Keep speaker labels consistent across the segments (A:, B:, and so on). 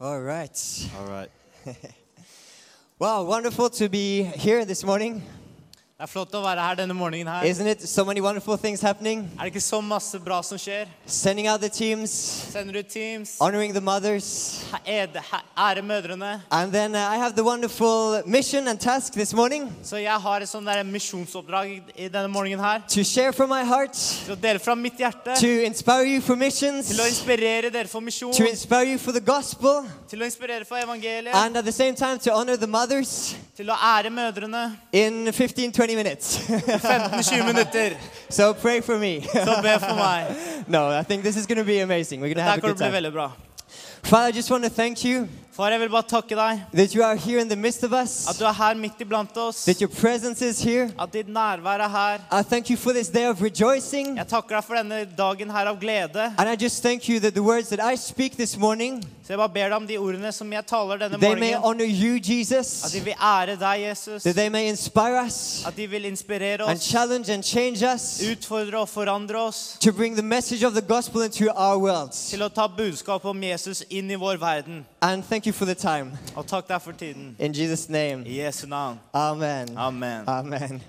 A: All right.
B: All right.
A: Wow, wonderful to be here this morning.
B: Det er flott å være her denne morgenen her.
A: Isn't it so many wonderful things happening?
B: Er det ikke så masse bra som skjer?
A: Sending out the teams,
B: Sender ut Teams.
A: honoring the mothers.
B: he- ed- he- Ære mødrene.
A: And then uh, I have the wonderful mission and task this morning
B: Så jeg har et sånn der misjonsoppdrag i- i denne morgenen her.
A: to share from my heart,
B: Til å dele fra mitt hjerte.
A: to inspire you for
B: Til å
A: missions,
B: inspirere dere for misjon.
A: to inspire you for the gospel,
B: Til å inspirere for evangeliet.
A: and at the same time to honor the mothers
B: Til å ære mødrene.
A: in 15 20 minutes.
B: 15-20 minutter.
A: so pray for me.
B: Så be for meg.
A: no, I think this is going to be amazing. We're going to have a
B: Der kan
A: good
B: det bli
A: time.
B: veldig bra.
A: Father, I just want to thank you
B: Far, jeg vil bare takke deg.
A: that you are here in the midst of
B: At
A: us,
B: du er her midt iblant oss.
A: that your presence is here.
B: At ditt nærvær er her.
A: I thank you for this day of rejoicing.
B: Jeg takker deg for denne dagen her av glede.
A: And I just thank you that the words that I speak this morning,
B: Så jeg bare ber deg om de ordene som jeg taler denne
A: they may
B: morgenen.
A: honor you,
B: At
A: Jesus,
B: de vil ære deg, Jesus.
A: that they may inspire us
B: At de vil inspirere
A: and
B: oss,
A: challenge and change us
B: utfordre og forandre oss
A: to bring the message of the gospel into our worlds.
B: til å ta budskapet om Jesus inn i vår verden.
A: And thank you for the time.
B: Og takk deg for tiden.
A: In Jesus' name,
B: I Jesu navn.
A: amen.
B: Amen.
A: Amen.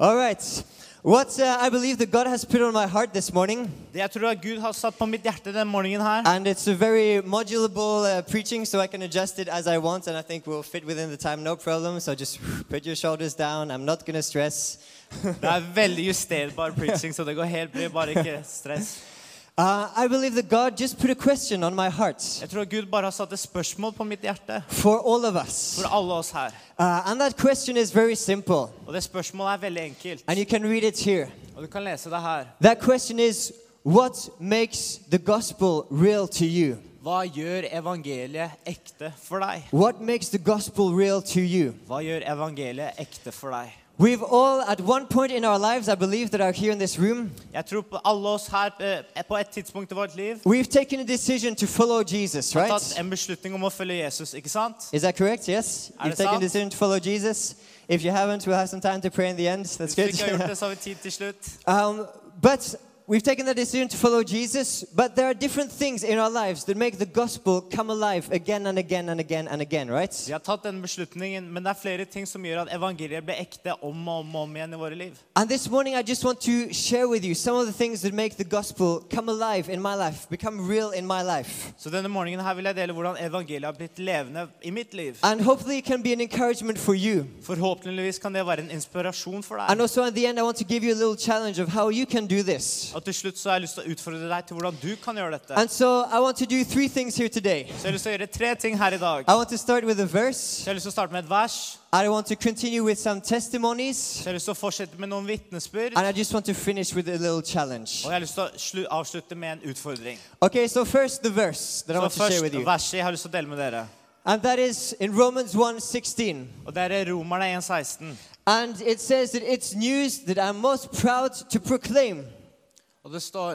A: All right. What uh, I believe that God has put on my heart this morning,
B: Det jeg tror at Gud har satt på mitt hjerte denne morgenen her,
A: and it's a very modulable uh, preaching, so I can adjust it as I want, and I think we'll fit within the time, no problem. So just put your shoulders down. I'm not going to stress.
B: det er veldig justerbar preaching, så det går helt bra. Bare ikke stress.
A: Uh, I believe that God just put a question on my heart
B: Jeg tror at Gud bare har satt et spørsmål på mitt hjerte
A: for all of us.
B: for alle oss her.
A: Uh, and that question is very simple,
B: Og det spørsmålet er veldig enkelt.
A: and you can read it here.
B: Og du kan lese det her.
A: That question is what makes the gospel real to you?
B: Hva gjør evangeliet ekte for deg?
A: What makes the gospel real to you?
B: Hva gjør evangeliet ekte for deg?
A: We've all, at one point in our lives, I believe, that are here in this room,
B: Jeg tror på alle oss her eh, på et tidspunkt i vårt liv
A: we've taken a decision to follow Jesus, right?
B: tatt en beslutning om å følge Jesus, ikke sant?
A: Is that correct? Yes?
B: Er
A: You've
B: det
A: taken a
B: sant?
A: decision to follow Jesus. If you haven't, we'll have some time to pray in the end. That's
B: Hvis vi
A: good.
B: ikke har gjort det, så har vi tid til slutt.
A: um, but we've taken the decision to follow Jesus, but there are different things in our lives that make the gospel come alive again and again and again and again, right?
B: Vi har tatt den beslutningen, men det er flere ting som gjør at evangeliet blir ekte om og om, og om igjen i våre liv.
A: And this morning, I just want to share with you some of the things that make the gospel come alive in my life, become real in my life.
B: Så denne morgenen her vil jeg dele hvordan evangeliet har blitt levende i mitt liv.
A: And hopefully, it can be an encouragement for you.
B: Forhåpentligvis kan det være en inspirasjon for
A: And
B: deg.
A: also, at the end, I want to give you a little challenge of how you can do this.
B: Og til slutt så har jeg lyst til å utfordre deg til hvordan du kan gjøre dette.
A: And so, I want to do three things here today.
B: Så jeg har lyst til å gjøre tre ting her i dag.
A: I want to start with a verse.
B: Så jeg har lyst til å starte med et vers.
A: I want to continue with some testimonies.
B: Så jeg har lyst til å fortsette med noen vitnesbyrd.
A: And I just want to finish with a little challenge.
B: Og jeg har lyst til å slu, avslutte med en utfordring.
A: Okay, so first the verse that I
B: Så
A: want to share with
B: først
A: you.
B: verset jeg har lyst til å dele med dere.
A: And that is in Romans 1:16.
B: Og det er Romerne 1,16.
A: And it says that it's news that I'm most proud to proclaim.
B: Og det står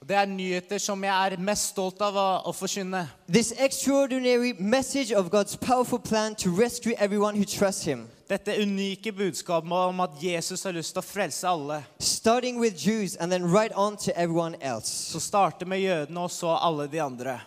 B: og det er nyheter som jeg er mest stolt av å, å forkynne.
A: This extraordinary message of God's powerful plan to rescue everyone who trusts him,
B: Dette unike budskapet om at Jesus har lyst til å frelse alle.
A: starting with Jews and then right on to everyone else.
B: Så starter med jødene, og så alle de andre.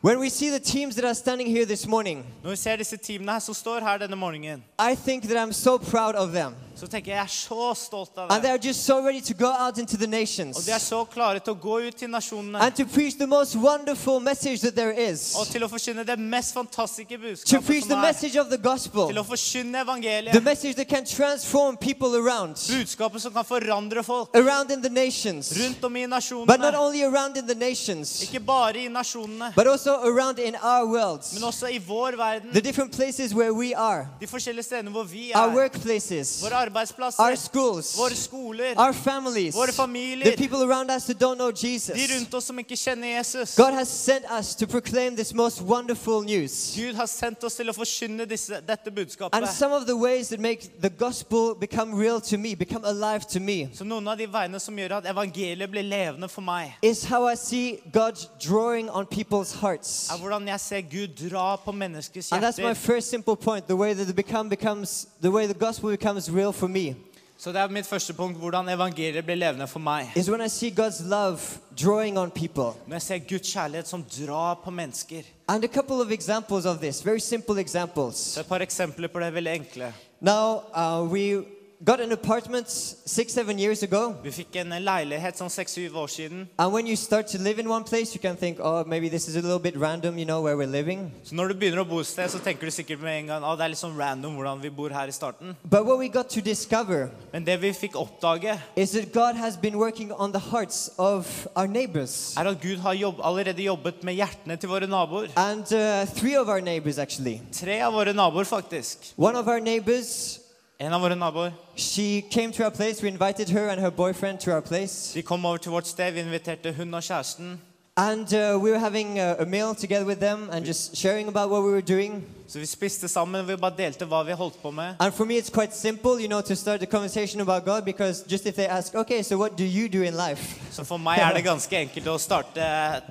A: When we see the teams that are standing here this morning,
B: Når vi ser disse teamene her som står her denne morgenen,
A: I think that I'm so proud of them.
B: så tenker jeg jeg er så stolt av
A: And they
B: det.
A: are just so ready to go out into the
B: Og de er
A: nations
B: så klare til å gå ut til nasjonene
A: and to preach the most wonderful message that there
B: og
A: is.
B: til å forkynne det mest fantastiske
A: To
B: budskapet
A: preach the
B: som er.
A: message of the
B: Til å
A: gospel,
B: forkynne
A: the
B: evangeliet.
A: message that can transform people around,
B: Budskapet som kan forandre folk
A: around in the nations.
B: rundt om i
A: But not
B: nasjonene.
A: only around in the nations,
B: Ikke bare i nasjonene,
A: but also around in our worlds,
B: men også i vår verden.
A: the different places where we are,
B: De forskjellige stedene hvor vi
A: our
B: er.
A: workplaces,
B: Våre
A: our
B: arbeidsplasser, våre
A: schools,
B: skoler,
A: our families,
B: våre
A: the
B: familier.
A: people around us that don't know
B: De
A: Jesus.
B: rundt oss som ikke kjenner Jesus.
A: God has sent us to proclaim this most wonderful news.
B: Gud har sendt oss til å forkynne disse, dette
A: And
B: budskapet.
A: some of the ways that make the gospel become real to me, become alive to me,
B: Så noen av de veiene som gjør at evangeliet blir levende for meg,
A: is how I see God drawing on people's hearts.
B: er hvordan jeg ser Gud dra på menneskers
A: And that's my
B: hjerter.
A: first simple point. The way that it become becomes the way the gospel becomes real for me
B: Så det er mitt første punkt, hvordan evangeliet blir levende for meg.
A: is when I see God's love drawing on people.
B: Når jeg ser Guds kjærlighet som drar på mennesker.
A: And a couple of examples of this, very simple examples.
B: Så et par eksempler på det veldig enkle.
A: Now, uh, we got an apartment six, seven years ago.
B: Vi fikk en leilighet sånn seks-syv år siden.
A: And when you start to live in one place, you can think, oh, maybe this is a little bit random, you know, where we're living.
B: Så når du begynner å bo et sted, så tenker du sikkert med en gang at det er litt sånn random hvordan vi bor her i starten.
A: But what we got to discover
B: Men det vi fikk oppdage,
A: is that God has been working on the hearts of our neighbors.
B: er at Gud har jobb, allerede jobbet med hjertene til våre naboer.
A: And uh, three of our neighbors, actually.
B: Tre av våre naboer, faktisk.
A: One of our neighbors,
B: En av våre naboer.
A: she came to our place. We invited her and her boyfriend to our place.
B: De kom over til vårt sted. Vi inviterte hun og kjæresten.
A: And uh, we were having a, a meal together with them and just sharing about what we were doing.
B: Så vi spiste sammen. Vi bare delte hva vi holdt på med.
A: And for me, it's quite simple, you know, to start a conversation about God because just if they ask, okay, so what do you do in life?
B: Så for meg er det ganske enkelt å starte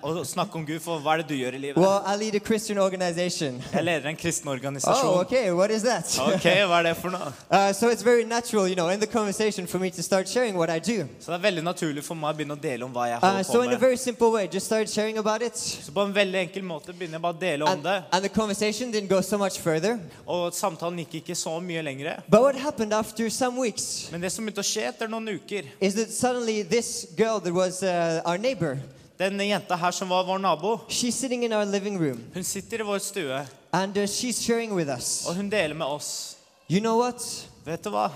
B: å snakke om Gud, for hva er det du gjør i livet?
A: Well, I lead a Christian organization.
B: Jeg leder en kristen
A: Oh,
B: organisasjon.
A: okay, what is that?
B: Ah, Ok, hva er det for noe?
A: Uh, so it's very natural, you know, in the conversation for me to start sharing what I do.
B: Så det er veldig naturlig for meg å begynne å dele om hva jeg
A: Uh,
B: holder
A: so, in a
B: på med.
A: very simple way, just started sharing about it.
B: Så på en veldig enkel måte begynner jeg bare å dele om
A: And,
B: det.
A: and the conversation didn't go so much further.
B: Og samtalen gikk ikke så mye lenger.
A: But what happened after some weeks
B: Men det som begynte å skje etter noen uker
A: is that suddenly this girl that was uh, our neighbor,
B: Denne jenta her som var vår nabo,
A: she's sitting in our living room
B: hun sitter i vår stue,
A: and uh, she's sharing with us.
B: og hun deler med oss.
A: You know what?
B: Vet du hva?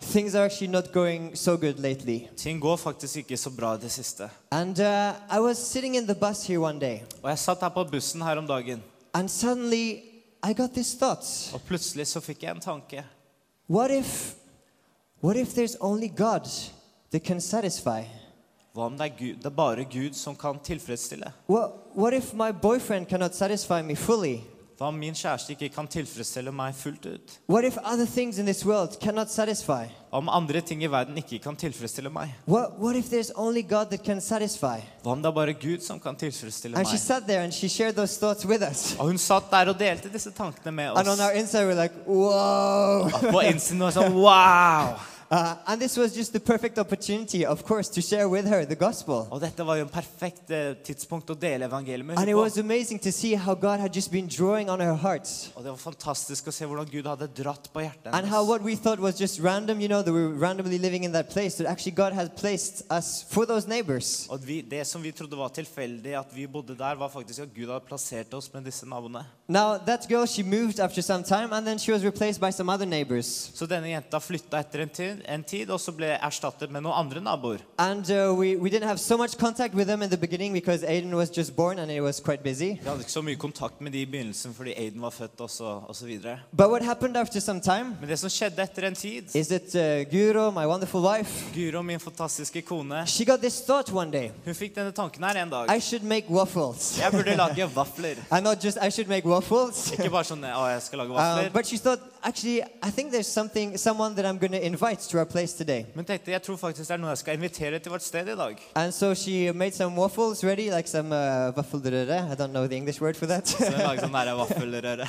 A: Things are actually not going so good lately.
B: Ting går faktisk ikke så bra i det siste.
A: And uh, I was sitting in the bus here one day,
B: Og jeg satt her på bussen her om dagen,
A: and suddenly I got this thought.
B: og plutselig så fikk jeg en tanke.
A: What if what if there's only God that can satisfy?
B: Hva om det er, Gud, det er bare Gud som kan tilfredsstille?
A: What what if my boyfriend cannot satisfy me fully?
B: Hva om min kjæreste ikke kan tilfredsstille meg fullt ut?
A: What if other things in this world cannot satisfy?
B: Hva om andre ting i verden ikke kan tilfredsstille meg?
A: What what if there's only God that can satisfy?
B: Hva om det er bare Gud som kan tilfredsstille
A: And she
B: meg?
A: sat there and she shared those thoughts with us.
B: Og hun satt der og delte disse tankene med
A: And on
B: oss.
A: our inside we're like, whoa.
B: På innsiden var det sånn wow!
A: Uh, and this was just the perfect opportunity, of course, to share with her the gospel.
B: Og dette var jo en perfekt eh, tidspunkt å dele evangeliet med
A: And it
B: henne
A: was
B: på.
A: amazing to see how God had just been drawing on her heart.
B: Og det var fantastisk å se hvordan Gud hadde dratt på hjertet
A: And how
B: hennes.
A: what we thought was just random, you know, that we were randomly living in that place, that actually God has placed us for those neighbors.
B: Og vi, det som vi trodde var tilfeldig, at vi bodde der, var faktisk at Gud hadde plassert oss med disse naboene.
A: Now, that girl, she moved after some time and then she was replaced by some other neighbors.
B: Så denne jenta flytta etter en tid, en tid, og så ble erstattet med noen andre naboer.
A: And uh, we, we didn't have so much contact with them in the beginning because Aiden was just born and it was quite busy.
B: Vi hadde ikke så mye kontakt med de i begynnelsen fordi Aiden var født og så, og så videre.
A: But what happened after some time
B: Men det som skjedde etter en tid
A: is that uh, Guro, my wonderful wife,
B: Guro, min fantastiske kone,
A: she got this thought one day
B: hun fikk denne tanken her en dag.
A: I should make waffles.
B: Jeg burde lage vafler.
A: And not just I should make waffles.
B: Ikke bare sånn å, jeg skal lage
A: Uh,
B: vafler.
A: but she thought, actually, I think there's something, someone that I'm going to invite to our place today.
B: Men tenkte jeg tror faktisk det er noen jeg skal invitere til vårt sted i dag.
A: And so she made some waffles ready, like some uh, waffelrøre. I don't know the English word for
B: Så
A: that.
B: hun lagde sånn der vaffelrøre.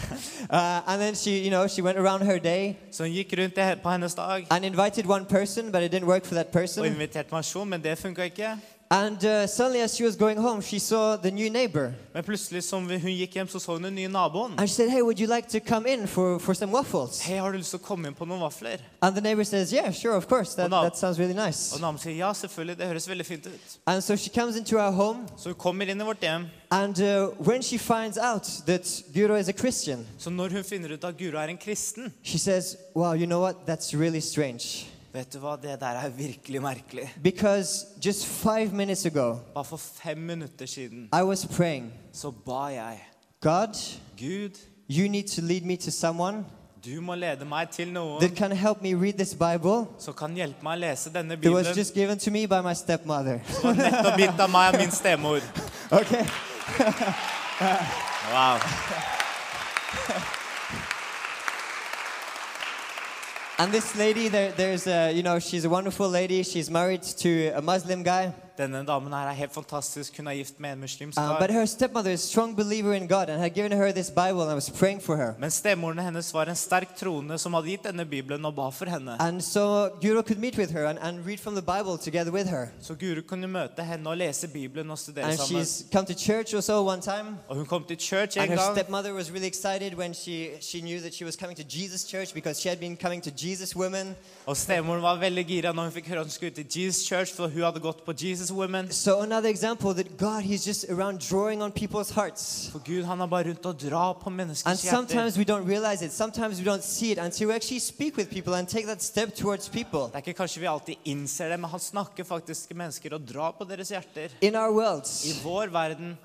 A: uh, and then she, you know, she went around her day
B: Så hun gikk rundt i- på hennes dag
A: and invited one person, but it didn't work for that
B: og
A: person.
B: inviterte pensjon, men det funka ikke.
A: And uh, suddenly, as she was going home, she saw the new neighbor,
B: Men plutselig som hun gikk hjem, så så hun den nye naboen.
A: and she said, "Hey, would you like to come in for, for some waffles?"
B: Hei, har du lyst til å komme inn på noen vafler?
A: And the neighbor says, "Yeah, sure, of course. That,
B: Oh, no.
A: that sounds really
B: Og
A: nice."
B: naboen sier ja, selvfølgelig, det høres veldig fint ut.
A: And so she comes into our home,
B: Så hun kommer inn i vårt hjem.
A: and uh, when she finds out that Guro is a Christian,
B: Så når hun finner ut at Guro er en kristen,
A: she says, "Wow, you know what? That's really strange."
B: vet du hva, det der er virkelig merkelig.
A: Because just five minutes ago,
B: Bare for fem minutter siden
A: I was praying,
B: så ba jeg
A: God,
B: Gud,
A: you need to lead me to someone
B: du må lede meg til noen
A: that can help me read this Bible
B: som kan hjelpe meg å lese denne
A: that
B: bibelen
A: was just given to me by my stepmother.
B: som var nettopp gitt av meg og min stemor.
A: Okay.
B: Wow.
A: And this lady, there, there's a, you know, she's a wonderful lady. She's married to a Muslim guy.
B: Denne damen her er helt fantastisk. Hun er gift med en muslimsk
A: Um, but
B: kar.
A: her stepmother is a strong believer in God and had given her this Bible and was praying for her.
B: Men stemoren hennes var en sterk troende som hadde gitt denne bibelen og ba for henne.
A: And so Guro could meet with her and, and read from the Bible together with her.
B: Så Guru kunne møte henne og lese bibelen og studere
A: And
B: sammen.
A: she's come to church or so one time.
B: Og hun kom til church
A: And
B: en
A: her
B: gang.
A: stepmother was really excited when she, she knew that she was coming to Jesus Church because she had been coming to Jesus Women.
B: Og stemoren var veldig gira når hun fikk høre at hun skulle til Jesus Church, for hun hadde gått på Jesus Women.
A: So another example that God, He's just around drawing on people's hearts.
B: For Gud han er bare rundt og drar på
A: And
B: menneskers hjerter.
A: sometimes we don't realize it. Sometimes we don't see it until we actually speak with people and take that step towards people.
B: Det er ikke kanskje vi alltid innser det, men han snakker faktisk til mennesker og drar på deres hjerter.
A: In our
B: I
A: worlds,
B: vår verden.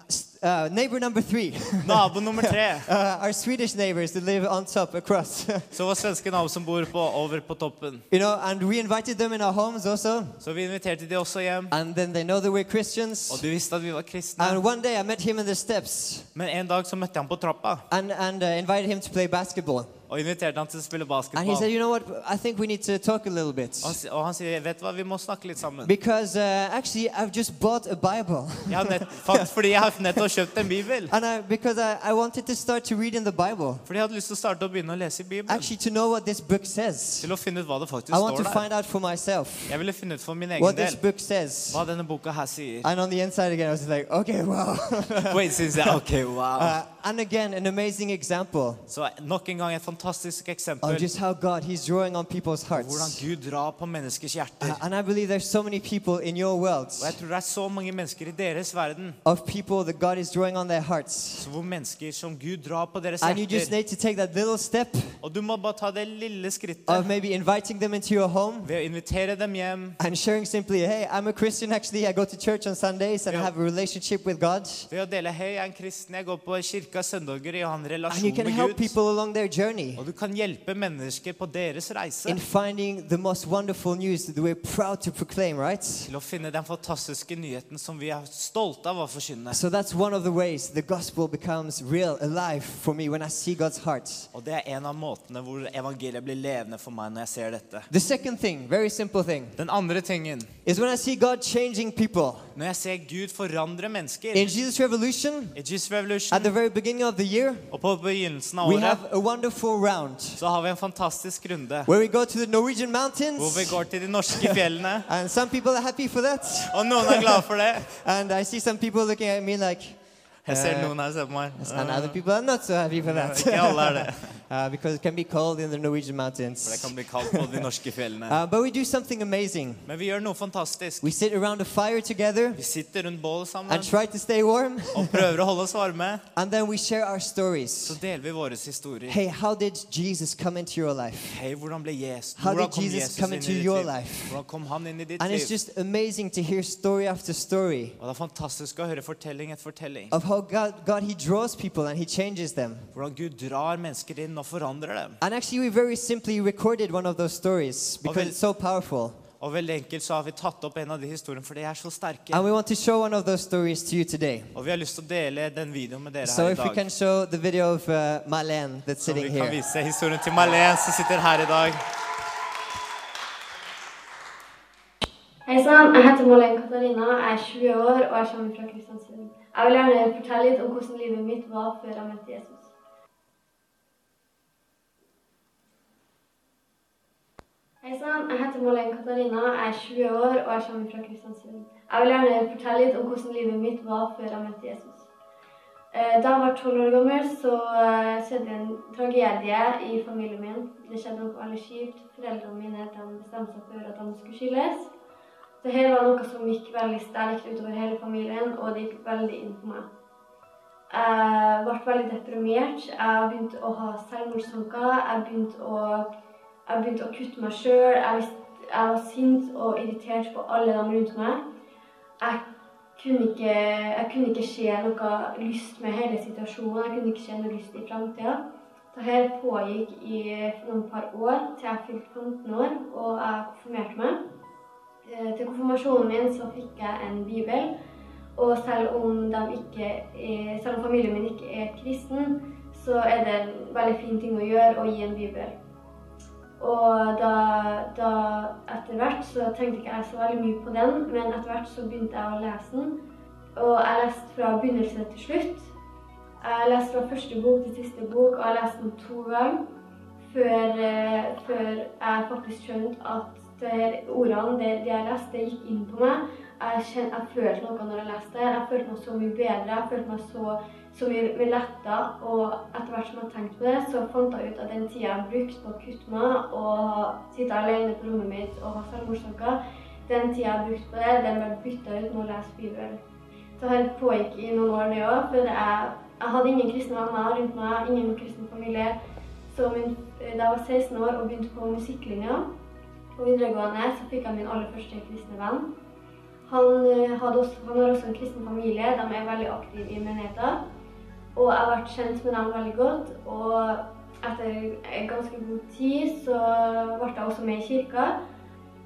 A: uh, neighbor number three,
B: Nabo nummer tre.
A: uh, our Swedish neighbors that live on top across,
B: Så vår svenske nabo som bor på, over på toppen.
A: you know, and we invited them in our homes also.
B: Så vi inviterte de også hjem.
A: And then they know that we're
B: Og
A: Christians.
B: de visste at vi var kristne.
A: And one day I met him in the steps
B: Men en dag så møtte jeg ham på trappa
A: and, and uh, invited him to play basketball.
B: og inviterte han til å spille
A: And
B: basketball.
A: he
B: Og
A: said, you know what, I think we need to talk a little bit.
B: han, s- og han sier, vet du hva, vi må snakke litt sammen.
A: Because uh, actually, I've just bought a Bible.
B: Jeg har nett, fakt, fordi jeg har nettopp kjøpt en bibel.
A: And I, because I, I wanted to start to read in the Bible,
B: Fordi jeg hadde lyst til å starte å begynne å lese i Bibelen.
A: actually to know what this book says.
B: Til å finne ut hva det faktisk
A: I want to
B: står der.
A: find out for myself
B: Jeg ville finne ut for min
A: what
B: egen
A: this
B: del
A: book says.
B: hva denne boka her sier.
A: And on the inside again, I was like, okay, wow.
B: Wait, synes jeg, ok, wow.
A: Uh, and again, an amazing example
B: Så nok en gang et fantastisk
A: of
B: eksempel
A: just how God, He's drawing on people's
B: hvordan
A: hearts.
B: Gud drar på menneskers hjerter.
A: Uh, and I believe there's so many people in your world
B: Og jeg tror det er så mange mennesker i deres verden
A: of people that God is drawing on their hearts.
B: så hvor mennesker som Gud drar på deres
A: And you just
B: hjerter.
A: need to take that little step
B: Og du må bare ta det lille
A: of
B: skrittet
A: maybe inviting them into your home
B: ved å invitere dem hjem.
A: and sharing simply, hey, I'm a Christian actually. I go to church on Sundays and I
B: Yeah.
A: have a relationship with God.
B: Ved å dele 'Hei, jeg er en kristen. Jeg går på kirka søndager. Jeg har en
A: And you
B: relasjon
A: can
B: med
A: help
B: Gud.'
A: people along their journey
B: Og du kan hjelpe mennesker på deres reise
A: in finding the most wonderful news that we're proud to proclaim, right?
B: til å finne den fantastiske nyheten som vi er stolte av å forkynne.
A: So that's one of the ways the gospel becomes real, alive for me when I see God's heart.
B: Og det er en av måtene hvor evangeliet blir levende for meg når jeg ser dette.
A: The second thing, very simple thing,
B: Den andre tingen
A: is when I see God changing people.
B: Når jeg ser Gud forandre mennesker
A: In Jesus Revolution,
B: I Jesus
A: at
B: Revolution
A: the very beginning of the year,
B: og på begynnelsen av
A: we
B: året
A: have a wonderful round.
B: så har vi en fantastisk runde
A: where we go to the Norwegian
B: hvor vi
A: mountains.
B: går til de norske fjellene.
A: And some people are happy for that.
B: Og noen er glade for det.
A: And I see some people looking at me like,
B: Jeg ser
A: Eh,
B: noen her som er
A: and other people are not so happy for
B: Ikke
A: that.
B: alle er det.
A: uh, because it can be cold in the Norwegian
B: For det
A: mountains.
B: kan bli kaldt på de norske fjellene.
A: Uh, but we do something amazing.
B: Men vi gjør noe fantastisk.
A: We sit around a fire together
B: Vi sitter rundt bålet sammen
A: and try to stay warm.
B: og prøver å holde oss varme.
A: And then we share our
B: Så
A: stories.
B: deler vi våre historier.
A: Hey, how did Jesus come into your life?
B: Hei, hvordan ble Jesus?
A: How
B: Hvordan
A: did
B: kom
A: Jesus
B: Jesus
A: come
B: inn i
A: into
B: ditt
A: your
B: liv?
A: life?
B: Hvordan kom han inn i ditt
A: And it's
B: liv?
A: just amazing to hear story after story
B: Og det er fantastisk å høre fortelling etter fortelling.
A: of how God, God He draws people and He changes them.
B: Hvordan Gud drar mennesker inn og forandrer dem.
A: And actually, we very simply recorded one of those stories because
B: vel-
A: it's so powerful.
B: Og veldig enkelt så har vi tatt opp en av de historiene, for de er så sterke.
A: And we want to show one of those stories to you today.
B: Og vi har lyst til å dele den videoen med dere
A: So
B: her i
A: if we
B: dag.
A: can show the video of uh, Marlene that's
B: Så vi
A: sitting
B: kan
A: here.
B: vise historien til Marlene som sitter her i dag.
C: Hei sann, jeg heter Malene Katarina, jeg er 20 år og jeg kommer fra Kristiansund. Jeg vil gjerne fortelle litt om hvordan livet mitt var før jeg møtte Jesus. Hei sann, jeg heter Malene Katarina, jeg er 20 år og jeg kommer fra Kristiansund. Jeg vil gjerne fortelle litt om hvordan livet mitt var før jeg møtte Jesus. Eh, Da jeg var 12 år gammel, så eh, skjedde en tragedie i familien min. Det skjedde noe veldig kjipt. Foreldrene mine de bestemte seg for at de skulle skilles. Det her var noe som gikk veldig sterkt utover hele familien, og det gikk veldig inn på meg. Jeg ble veldig deprimert. Jeg begynte å ha selvmordstanker. Jeg begynte å, jeg begynte å kutte meg sjøl. Jeg, visste- jeg var sint og irritert på alle de rundt meg. Jeg kunne ikke, jeg kunne ikke se noe lyst med hele situasjonen. Jeg kunne ikke se noe lyst i framtida. Dette pågikk i noen par år, til jeg fylte 15 år og jeg konfirmerte meg. Eh, Til konfirmasjonen min så fikk jeg en bibel. Og selv om, de ikke er, selv om familien min ikke er kristen, så er det en veldig fin ting å gjøre å gi en bibel. Og da, da etter hvert så tenkte ikke jeg så veldig mye på den, men etter hvert så begynte jeg å lese den. Og jeg leste fra begynnelse til slutt. Jeg leste fra første bok til siste bok, og jeg leste den to ganger. Før, eh, før jeg faktisk skjønte at der ordene det, det jeg leste, det gikk inn på meg. Jeg, kjen, jeg følte noe når jeg leste det. Jeg følte meg så mye bedre. Jeg følte meg så, så mye, mye letta. Og etter hvert som jeg tenkte på det, så fant jeg ut at den tida jeg brukte på å kutte meg og sitte alene på rommet mitt og ha selvmordstanker, den tida jeg brukte på det, den ble bytta ut med å lese Bibelen. Så det pågikk i noen år, det òg. For jeg, jeg hadde ingen kristne venner rundt meg, ingen kristen familie. Så min, da jeg var 16 år og begynte på musikklinja på videregående, så fikk jeg min aller første kristne venn. Han, eh, hadde også, han har også en kristen familie. De er veldig aktive i menigheten. Og jeg ble kjent med dem veldig godt. Og etter en ganske god tid så ble jeg også med i kirka.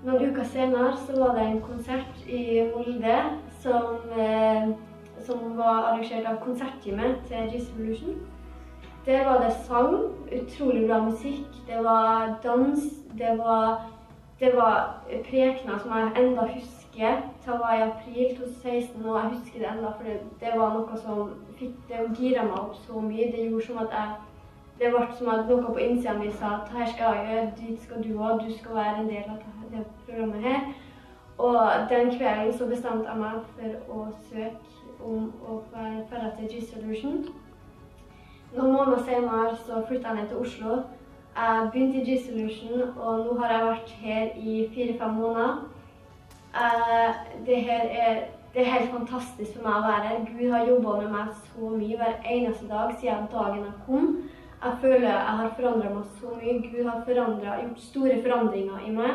C: Noen uker senere så var det en konsert i Molde som, eh, som var arrangert av konsertteamet til Jesus Revolution. Der var det sang, utrolig bra musikk, det var dans, det var, det var prekener som jeg enda husker. Det var i april 2016, og jeg husker det enda, for det, det var noe som fikk det gira meg opp så mye. Det gjorde som at jeg det ble som at noe på innsida mi sa at her skal jeg gjøre, dit skal du òg, du skal være en del av det det programmet her. Og den kvelden så bestemte jeg meg for å søke om å være ferdig til G-Solution. Noen måneder senere så flytta jeg ned til Oslo. Jeg begynte i G-Solution, og nå har jeg vært her i fire-fem måneder. Eh, det her er, det er helt fantastisk for meg å være her. Gud har jobba med meg så mye hver eneste dag siden dagen jeg kom. Jeg føler jeg har forandra meg så mye. Gud har forandret- gjort store forandringer i meg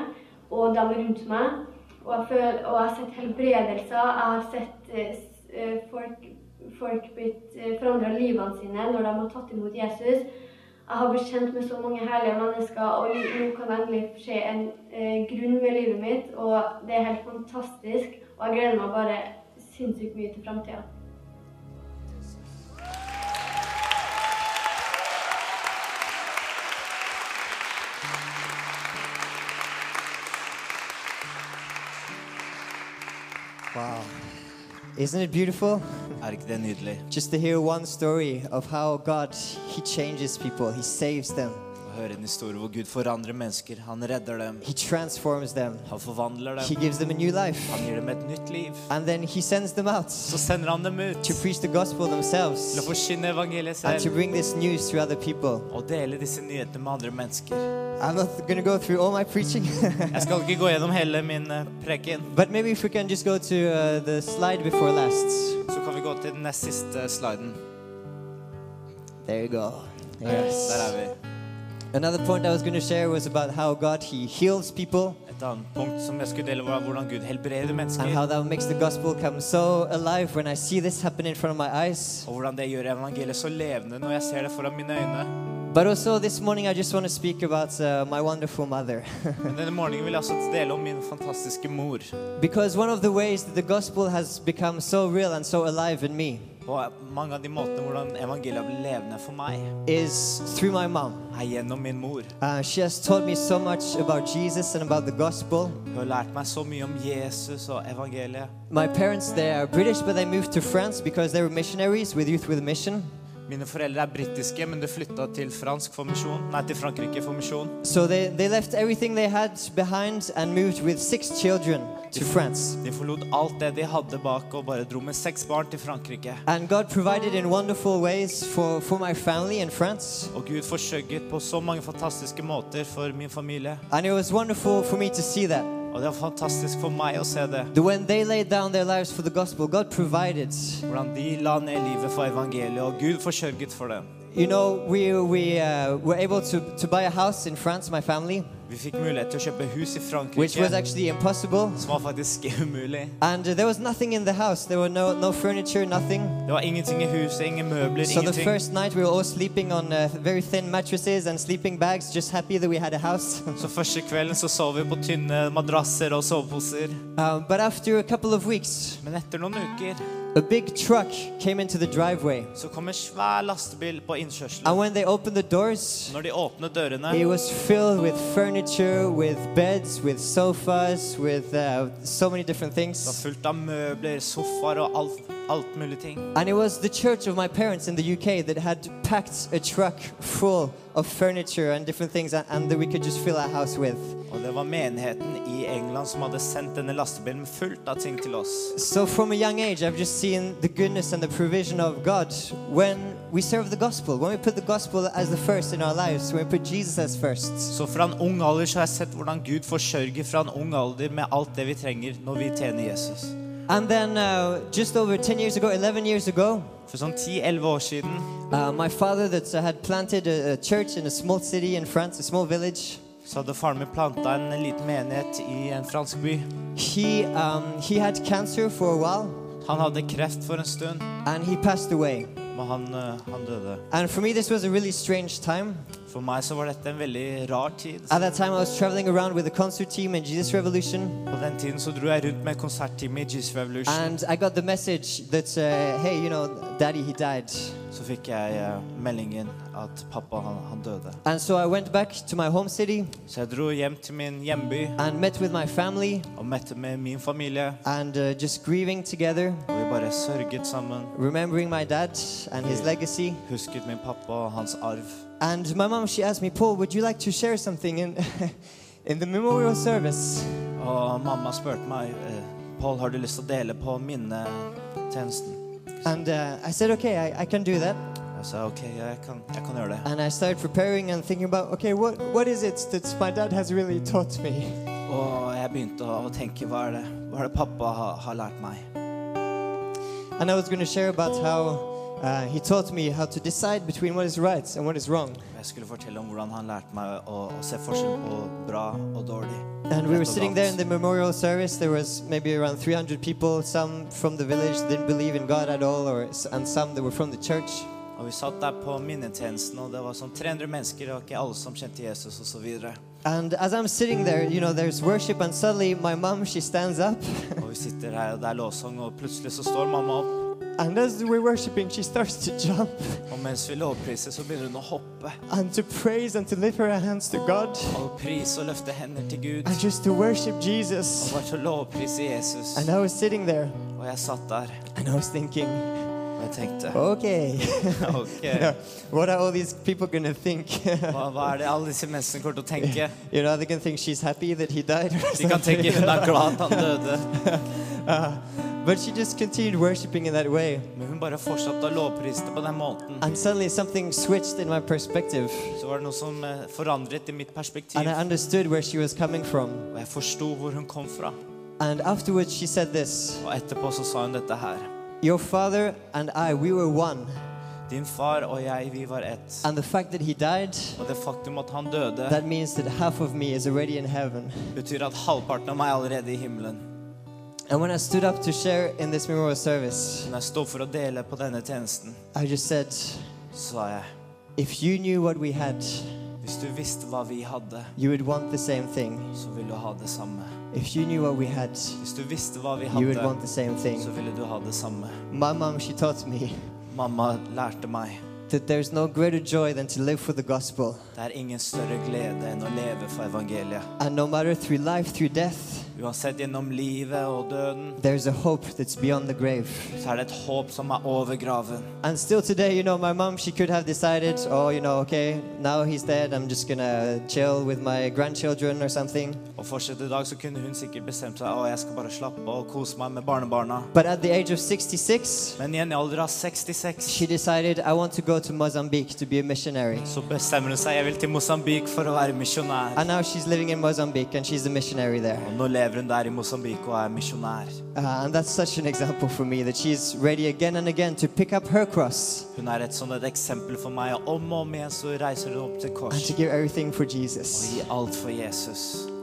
C: og dem rundt meg. Og jeg, føler, og jeg har sett helbredelser. Jeg har sett eh, s- eh, folk, folk blitt forandra livene sine når de har tatt imot Jesus. Jeg har blitt kjent med så mange herlige mennesker, og nå kan jeg endelig se en eh, grunn med livet mitt. Og det er helt fantastisk. Og jeg gleder meg bare sinnssykt mye til framtida.
A: Wow. Isn't it beautiful?
B: Er ikke det nydelig?
A: Just to hear one story of how God, He changes people, He saves them,
B: Å høre en historie hvor Gud forandrer mennesker. Han redder dem.
A: He transforms them,
B: Han forvandler
A: He
B: dem.
A: gives them a new life,
B: Han gir dem et nytt liv.
A: and then He sends them out
B: Så sender han dem ut
A: to preach the gospel
B: til å
A: themselves
B: forkynne evangeliet
A: and to
B: selv
A: bring this news to other people.
B: og dele disse nyhetene med andre mennesker.
A: I'm not gonna go through all my preaching,
B: Jeg skal ikke gå gjennom hele min eh, preken,
A: but maybe if we can just go to uh, the slide before last.
B: så kan vi gå til den nest siste sliden.
A: There you go.
B: Der er
A: Yes.
B: vi.
A: Another point I was going to share was about how God He heals people
B: Et annet punkt som jeg skulle dele, var hvordan Gud helbreder
A: and
B: mennesker.
A: how that makes the gospel come so alive when I see this happen in front of my eyes.
B: Og hvordan det gjør evangeliet så levende når jeg ser det foran mine øyne.
A: But also this morning I just want to speak about uh, my wonderful mother
B: Men denne morgenen vil jeg også dele om min fantastiske mor.
A: because one of the ways that the gospel has become so real and so alive in me
B: Og mange av de måtene hvordan evangeliet blir levende for meg,
A: is through my mom.
B: er gjennom min mor.
A: Uh, she has taught me so much about Jesus and about the gospel.
B: Hun har lært meg så mye om Jesus og evangeliet.
A: My parents they are British but they moved to France because they were missionaries with Youth with a Mission.
B: Mine foreldre er britiske, men de flytta til fransk for misjon. Nei, til Frankrike for misjon.
A: So they, they left everything they had behind and moved with six children to France.
B: De forlot alt det de hadde bak og bare dro med seks barn til Frankrike.
A: And God provided in wonderful ways for, for my family in France.
B: Og Gud forsørget på så mange fantastiske måter for min familie.
A: And it was wonderful for me to see that.
B: Og det var fantastisk for meg å se det.
A: That when they laid down their lives for the gospel, God provided.
B: Hvordan de la ned livet for evangeliet, og Gud forsørget for dem.
A: You know, we, we uh, were able to, to buy a house in France, my family,
B: Vi fikk mulighet til å kjøpe hus i
A: which was
B: Frankrike,
A: actually impossible.
B: som var faktisk umulig.
A: And uh, there was nothing in the house. There were no, no furniture, nothing.
B: Det var ingenting i huset, ingen møbler,
A: So the
B: ingenting.
A: first night we were all sleeping on uh, very thin mattresses and sleeping bags, just happy that we had a house.
B: Så første kvelden så sov vi på tynne madrasser og soveposer.
A: Um, but after a couple of weeks,
B: Men etter noen uker
A: a big truck came into the driveway.
B: Så kom en svær lastebil på innkjørselen.
A: And when they opened the doors,
B: Når de åpnet dørene,
A: it was filled with furniture, with beds, with sofas, with uh, so many different
B: var
A: things.
B: fullt av møbler, sofaer og alt, alt mulig ting.
A: And it was the church of my parents in the UK that had packed a truck full of furniture and different things and, and that we could just fill our house with.
B: Og det var menigheten i England som hadde sendt denne lastebilen fullt av ting til oss.
A: So from a young age, I've just seen the goodness and the provision of God when we serve the gospel, when we put the gospel as the first in our lives, when we put Jesus as first.
B: Så fra en ung alder så har jeg sett hvordan Gud forsørger fra en ung alder med alt det vi trenger når vi tjener Jesus.
A: And then uh, just over 10 years ago, 11 years ago,
B: For sånn 10-11 år siden
A: uh, my father that uh, had planted a, a church in a small city in France, a small village,
B: så hadde faren min planta en liten menighet i en fransk by.
A: he, um, he had cancer for a while
B: Han hadde kreft for en stund,
A: and he passed away.
B: men han, eh, han døde.
A: And for me, this was a really strange time.
B: For meg så var dette en veldig rar tid.
A: At that time, I was traveling around with a concert team in Jesus Revolution.
B: På den tiden så dro jeg rundt med konsertteamet i Jesus Revolution.
A: And I got the message that, uh, hey, you know, daddy, he died.
B: Så fikk jeg eh, meldingen at pappa, han, han døde.
A: And so I went back to my home city
B: Så jeg dro hjem til min hjemby
A: and met with my family
B: og møtte med min familie.
A: and uh, just grieving together,
B: Og vi bare sørget sammen.
A: remembering my dad and his legacy.
B: Husket min pappa og hans arv.
A: And my mom, she asked me, Paul, would you like to share something in, in the memorial service?
B: Og mamma spurte meg eh, Paul, har du lyst til å dele på minnetjenesten?
A: And uh, I said, okay, I, I can do that.
B: Jeg sa ok, ja, jeg kan, jeg kan gjøre det.
A: And I started preparing and thinking about, okay, what, what is it that my dad has really taught me?
B: Og jeg begynte å, å tenke hva er det, hva er det pappa har, har lært meg?
A: And I was going to share about how uh, he taught me how to decide between what is right and what is wrong.
B: Jeg skulle fortelle om hvordan han lærte meg å, å se forskjell på bra og dårlig.
A: And we
B: Rett
A: were
B: og
A: sitting
B: galt.
A: there in the memorial service. There was maybe around 300 people, some from the village that didn't believe in God at all, or, and some that were from the church.
B: Og vi satt der på minnetjenesten, og det var sånn 300 mennesker, og ikke alle som kjente Jesus, og så videre.
A: And as I'm sitting there, you know, there's worship, and suddenly my mom, she stands up.
B: Og vi sitter her, og det er lovsang, og plutselig så står mamma opp.
A: And as we're worshiping, she starts to jump
B: Og mens vi lovpriser, så begynner hun å hoppe
A: and to praise and to lift her hands to God
B: og prise og løfte hender til Gud.
A: and just to worship
B: Og
A: Jesus.
B: bare til å lovprise Jesus.
A: And I was sitting there
B: Og jeg satt der
A: and I was thinking,
B: og jeg tenkte
A: okay,
B: Ok,
A: what are all these people gonna think?
B: hva, hva er det alle disse menneskene kommer til å tenke?
A: you know, they can think she's happy that he died. or
B: De kan
A: something.
B: tenke hun er glad at han døde.
A: Uh, but she just continued worshiping in that way.
B: Men hun bare fortsatte å lovprise det på den måten.
A: And suddenly something switched in my perspective.
B: Så var det noe som eh, forandret i mitt perspektiv.
A: And I understood where she was coming from.
B: Og jeg forsto hvor hun kom fra.
A: And afterwards she said this
B: Og etterpå så sa hun dette her.
A: Your father and I, we were one.
B: Din far og jeg, vi var ett.
A: And the fact that he died,
B: Og det faktum at han døde,
A: that means that half of me is already in heaven.
B: betyr at halvparten av meg er allerede i himmelen.
A: And when I stood up to share in this memorial service,
B: Når jeg står for å dele på denne tjenesten,
A: I just said,
B: så sa jeg
A: If you knew what we had,
B: Hvis du visste hva vi hadde,
A: you would want the same thing.
B: så ville du ha det samme.
A: If you knew what we had,
B: Hvis du visste hva vi
A: you would want
B: hadde,
A: the same
B: så
A: thing.
B: ville du ha det samme.
A: My mom, she taught me
B: Mamma lærte meg
A: that there's no greater joy than to live for the gospel.
B: det er ingen større glede enn å leve for evangeliet.
A: And no matter through life, through death,
B: Uansett gjennom livet og døden,
A: there's a hope that's beyond the grave.
B: så er det et håp som er over graven.
A: And still today, you know, my mom, she could have decided, oh, you know, okay, now he's dead, I'm just gonna chill with my grandchildren or something.
B: Og fortsatt i dag så kunne hun sikkert bestemt seg å jeg skal bare slappe av og kose meg med barnebarna.
A: But at the age of 66,
B: Men igjen i alder av 66
A: she decided, I want to go to Mozambique to be a missionary.
B: så bestemmer hun seg jeg vil til Mosambik for å være misjonær.
A: And now she's living in Mozambique and she's a missionary there.
B: Og nå lever hun der i Mosambik og er misjonær.
A: Uh, and that's such an example for me that she's ready again and again to pick up her cross
B: Hun er et sånn et eksempel for meg, og om og om igjen så reiser hun opp til
A: and
B: kors
A: to give everything for
B: og
A: Jesus.
B: gir alt for Jesus.